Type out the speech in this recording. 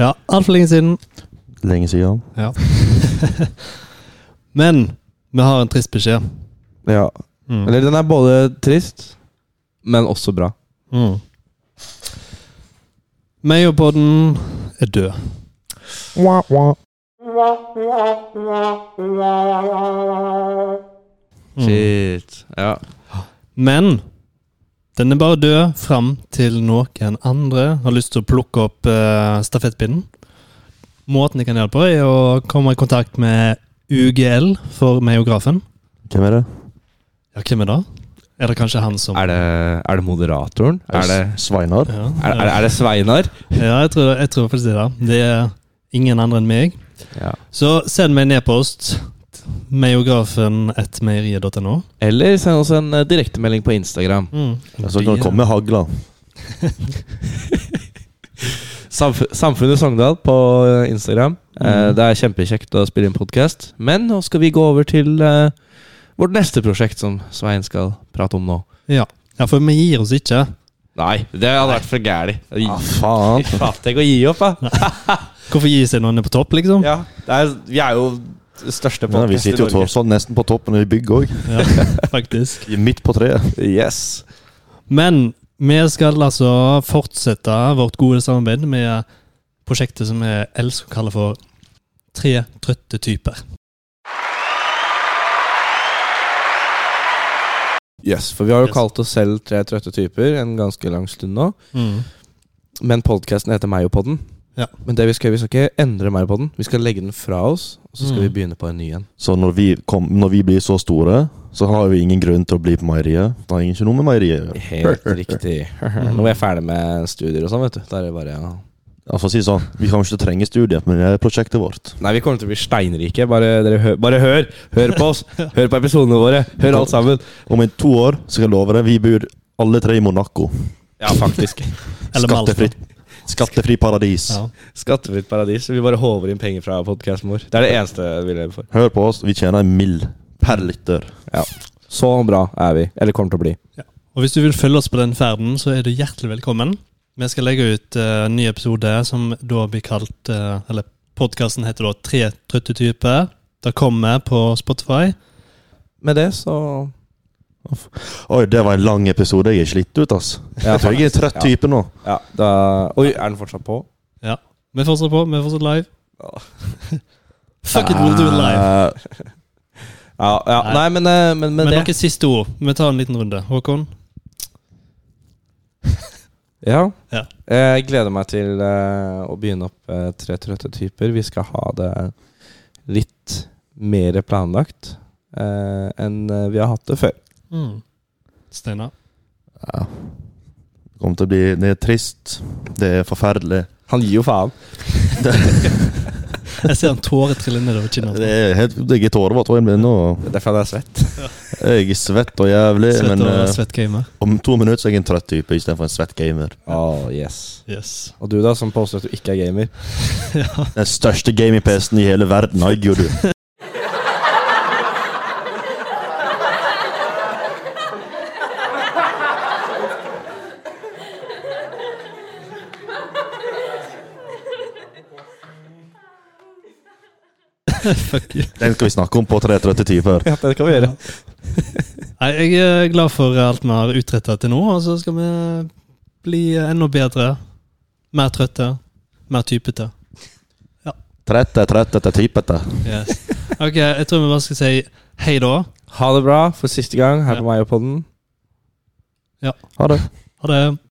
Ja, altfor lenge siden. Lenge siden. Ja. Men vi har en trist beskjed. Ja. Mm. Eller den er både trist, men også bra. Mm. Meg og podden er død. Mm. Shit. Ja. Men den er bare død fram til noen andre har lyst til å plukke opp eh, stafettpinnen. Måten de kan hjelpe på, er å komme i kontakt med UGL for meiografen. Hvem er det? Ja, hvem er det? Er det kanskje han som Er det, er det moderatoren? Er det, Sveinar? ja, er, er, er det Sveinar? ja, jeg tror, jeg tror faktisk det. er det. Det er ingen andre enn meg. Ja. Så send meg en e-post. Meiografen.meieriet.no. Eller send oss en eh, direktemelding på Instagram. Mm. Så kan du komme med hagla. Samf Samfunnet Sogndal på eh, Instagram. Eh, det er kjempekjekt å spille inn podkast. Men nå skal vi gå over til eh, vårt neste prosjekt, som Svein skal prate om nå. Ja. ja, for vi gir oss ikke. Nei, det hadde vært for gæli. Ja, faen. Fy faen, Tenk å gi opp, da. Hvorfor gi seg når en er på topp, liksom? Ja, det er, vi er jo det største Ja, vi podkast i sitter jo Norge. tross alt nesten på toppen i bygget òg. Ja, faktisk. Midt på treet. Yes. Men vi skal altså fortsette vårt gode samarbeid med prosjektet som vi elsker å kalle for Tre trøtte typer. yes. For vi har jo Yes. kalt oss selv Tre trøtte typer en ganske lang stund nå. Mm. Men podkasten heter Meio-podden. Ja. Men det vi skal, gjøre, vi skal ikke endre Meio-podden. Vi skal legge den fra oss, og så skal Mm. vi begynne på en ny en. Så når vi, kom, når vi blir så store, så har vi ingen grunn til å bli på meieriet. Da har jeg ikke noe med meieriet å gjøre. Helt riktig. Nå er jeg ferdig med studier og sånn, vet du. Da er det bare ja. Altså, si sånn, vi kan ikke trenge studiet med det prosjektet vårt. Nei, vi kommer til å bli steinrike. Bare, dere hø bare hør! Hør på oss! Hør på episodene våre! Hør alt sammen! Om en to år så skal jeg love deg, vi bor alle tre i Monaco. Ja, faktisk. Eller Malta. Skattefritt. Skattefri paradis. Ja. Skattefritt paradis. Vi bare håver inn penger fra podkasten vår. Det er det eneste vi lever for. Hør på oss, vi tjener en mill per lytter. Så bra er vi. Eller kommer til å bli. Og hvis du vil følge oss på den ferden, så er du hjertelig velkommen. Vi skal legge ut eh, en ny episode som da blir kalt eh, Eller podkasten heter da Tre trøtte typer. Det kommer på Spotify. Med det så Oi, det var en lang episode. Jeg er slitt ut, ass. Ja, Jeg tror jeg er en trøtt Ja. type nå. Ja, da Oi, er den fortsatt på? Vi fortsetter på, vi fortsetter live. Ja. Fuck it, we'll do it live. Eh, Ja, ja. Nei, men, eh, men, Ah, men Men det noen siste ord. Vi tar en liten runde. Håkon? Ja. Ja. Jeg gleder meg til eh, å begynne opp eh, Tre trøtte typer. Vi skal ha det litt mer planlagt eh, enn eh, vi har hatt det før. Mm. Steinar? ja. Det kommer til å bli Det er trist. Det er forferdelig. Han gir jo faen. Jeg ser en tåre trille nedover kinnet. Det er helt Jeg er tårevåt øynene mine, og Det er derfor han er svett. jeg er svett og jævlig. Svett men og eh, svett gamer. om to minutter så er jeg en trøtt type istedenfor en svett gamer. Oh, yes. Yes. Og du, da, som påstår at du ikke er gamer. ja. Den største gaming-PC-en i hele verden har jeg jo, du. Fuck you. Den skal vi snakke om på 3.30-typer. Ja, det kan vi gjøre. Nei, jeg er glad for alt vi har utretta til nå, og så skal vi bli enda bedre. Mer trøtte. Mer typete. 30, 30 til typete. Yes. Ok, jeg tror vi bare skal si hei da. Ha det bra for siste gang her Ja. på Meierpodden. Ha det. Ha det.